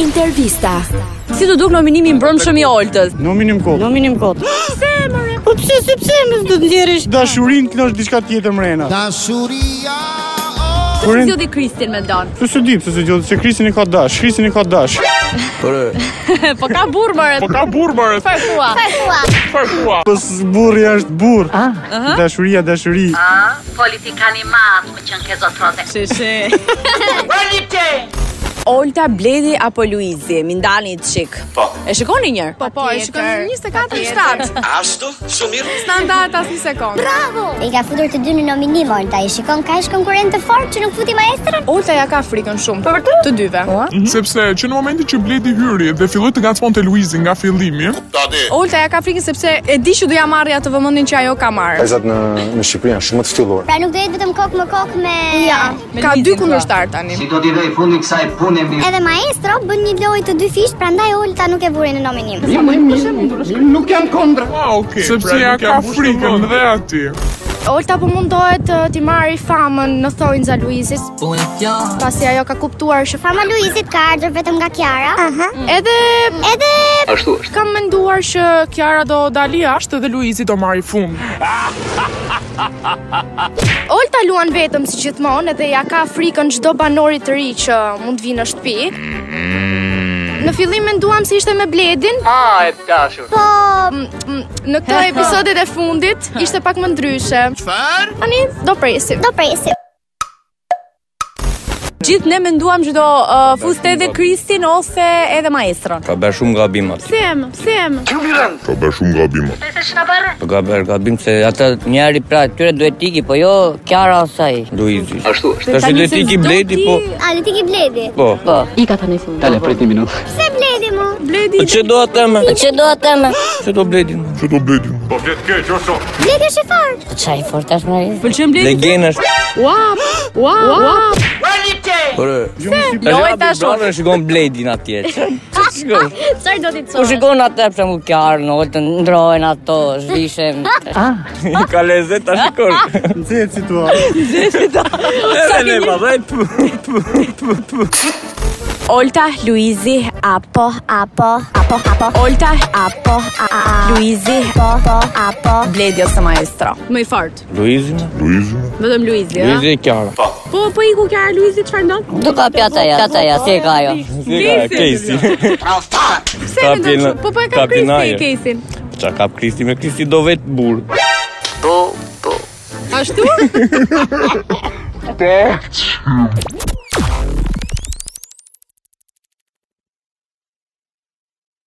Intervista. Si të duk nominimi i mbrëmshëm i Oltës? Nominim kot. Nominim kot. Se more. Po pse se pse më do të nxjerrësh? Dashurin kënosh diçka tjetër mrena. Dashuria Si Kurin zgjodhi Kristin mendon? Se se di, pse se gjotë se Krisin i ka dash, Krisin i ka dash. po ka burr more. Po ka burr more. ka thua. Po burri është burr. Ah. Dashuria, dashuri. politikani madh më qenë ke zotrote. Shi Olta, Bledi apo Luizi, mi ndani çik. Po. E shikoni një herë? Po, po, e shikoni 24-7. Ashtu, shumë mirë. Standart as një sekond. E ka futur të dy në nominim Olta, i shikon ka ish konkurent të fort që nuk futi maestrën? Olta ja ka frikën shumë. Po vërtet? Të dyve. Sepse që në momentin që Bledi hyri dhe filloi të gacmonte Luizin nga fillimi, Tati, Olta ja ka frikën sepse e di që do ja marrë atë vëmendjen që ajo ka marrë. Vajzat në në Shqipëri janë shumë të ftyllur. Pra nuk do jetë vetëm kokë më kokë me... Ja. Ka dy kundërshtar tani. Si do t'i vej fundi kësaj pune mi Edhe maestro bën një lojë të dy fish, prandaj Olta nuk e vuri në nominim. wow, okay, sepse ja ka frikën dhe aty. Olta po mundohet të ti marrë famën në thonjza Luizit, pasi ajo ka kuptuar që Fama Luizit ka ardhur vetëm nga Kiara. Aha. edhe Edhe ashtu është. kam menduar që Kiara do dali jashtë Dhe Luizi do marri fund. Olta luan vetëm si gjithmonë edhe ja ka frikën çdo banori të ri që mund të vinë në shtëpi. Në fillim menduam se ishte me Bledin, po m- m- në këto episodet e fundit ishte pak më ndryshe. Çfarë? Tani do presim. do presim. Gjithë ne menduam që do uh, fuste edhe Kristin ose edhe maestron. Ka bërë shumë gabim aty. Sem, sem. Ka bërë shumë gabim. Po ka bërë gabim se ata njëri pra tyre duhet iki, po jo Kiara asaj. Luizi. Ashtu është. Tash Tani duhet se iki s'do Bledi, ti- po A le ti ki bledi? po. Dale, prit një minutë Pse bledi mu? Po çe do atë më? Që do të më? Çe do Bledi? më? Që do Bledi? Bledi është i fort. Çaj fort tash Mari. Pëlqen Bledi? Legenda është. Lojta Tash shumë. Brown shikon Bledin atje. Çfarë do ti të U shikon atë për mu kjarë në oltën, ndrojnë ato, zhvishen. Ka lezet ta shikon. Nxehet situatë. Edhe ne pa dhe Olta, Luizi apo Apo, apo, apo, Olta, apo, a, a, a, Luizi, po, po, apo. Bledi ose maestro. Më i fort. Luizi. më? Vetëm Luizi, a? Luizi e Kiara. Po, po iku kja Luizi çfarë ndon? Do ka pjata ja, pjata ja, si e ka ajo. Si e ka Casey. Pse Ka mendon pjena- kështu? Po po e ka ka Kristi pjenaje. Kesin. Qa ka Kristi me Kristi do vetë burë. Ashtu?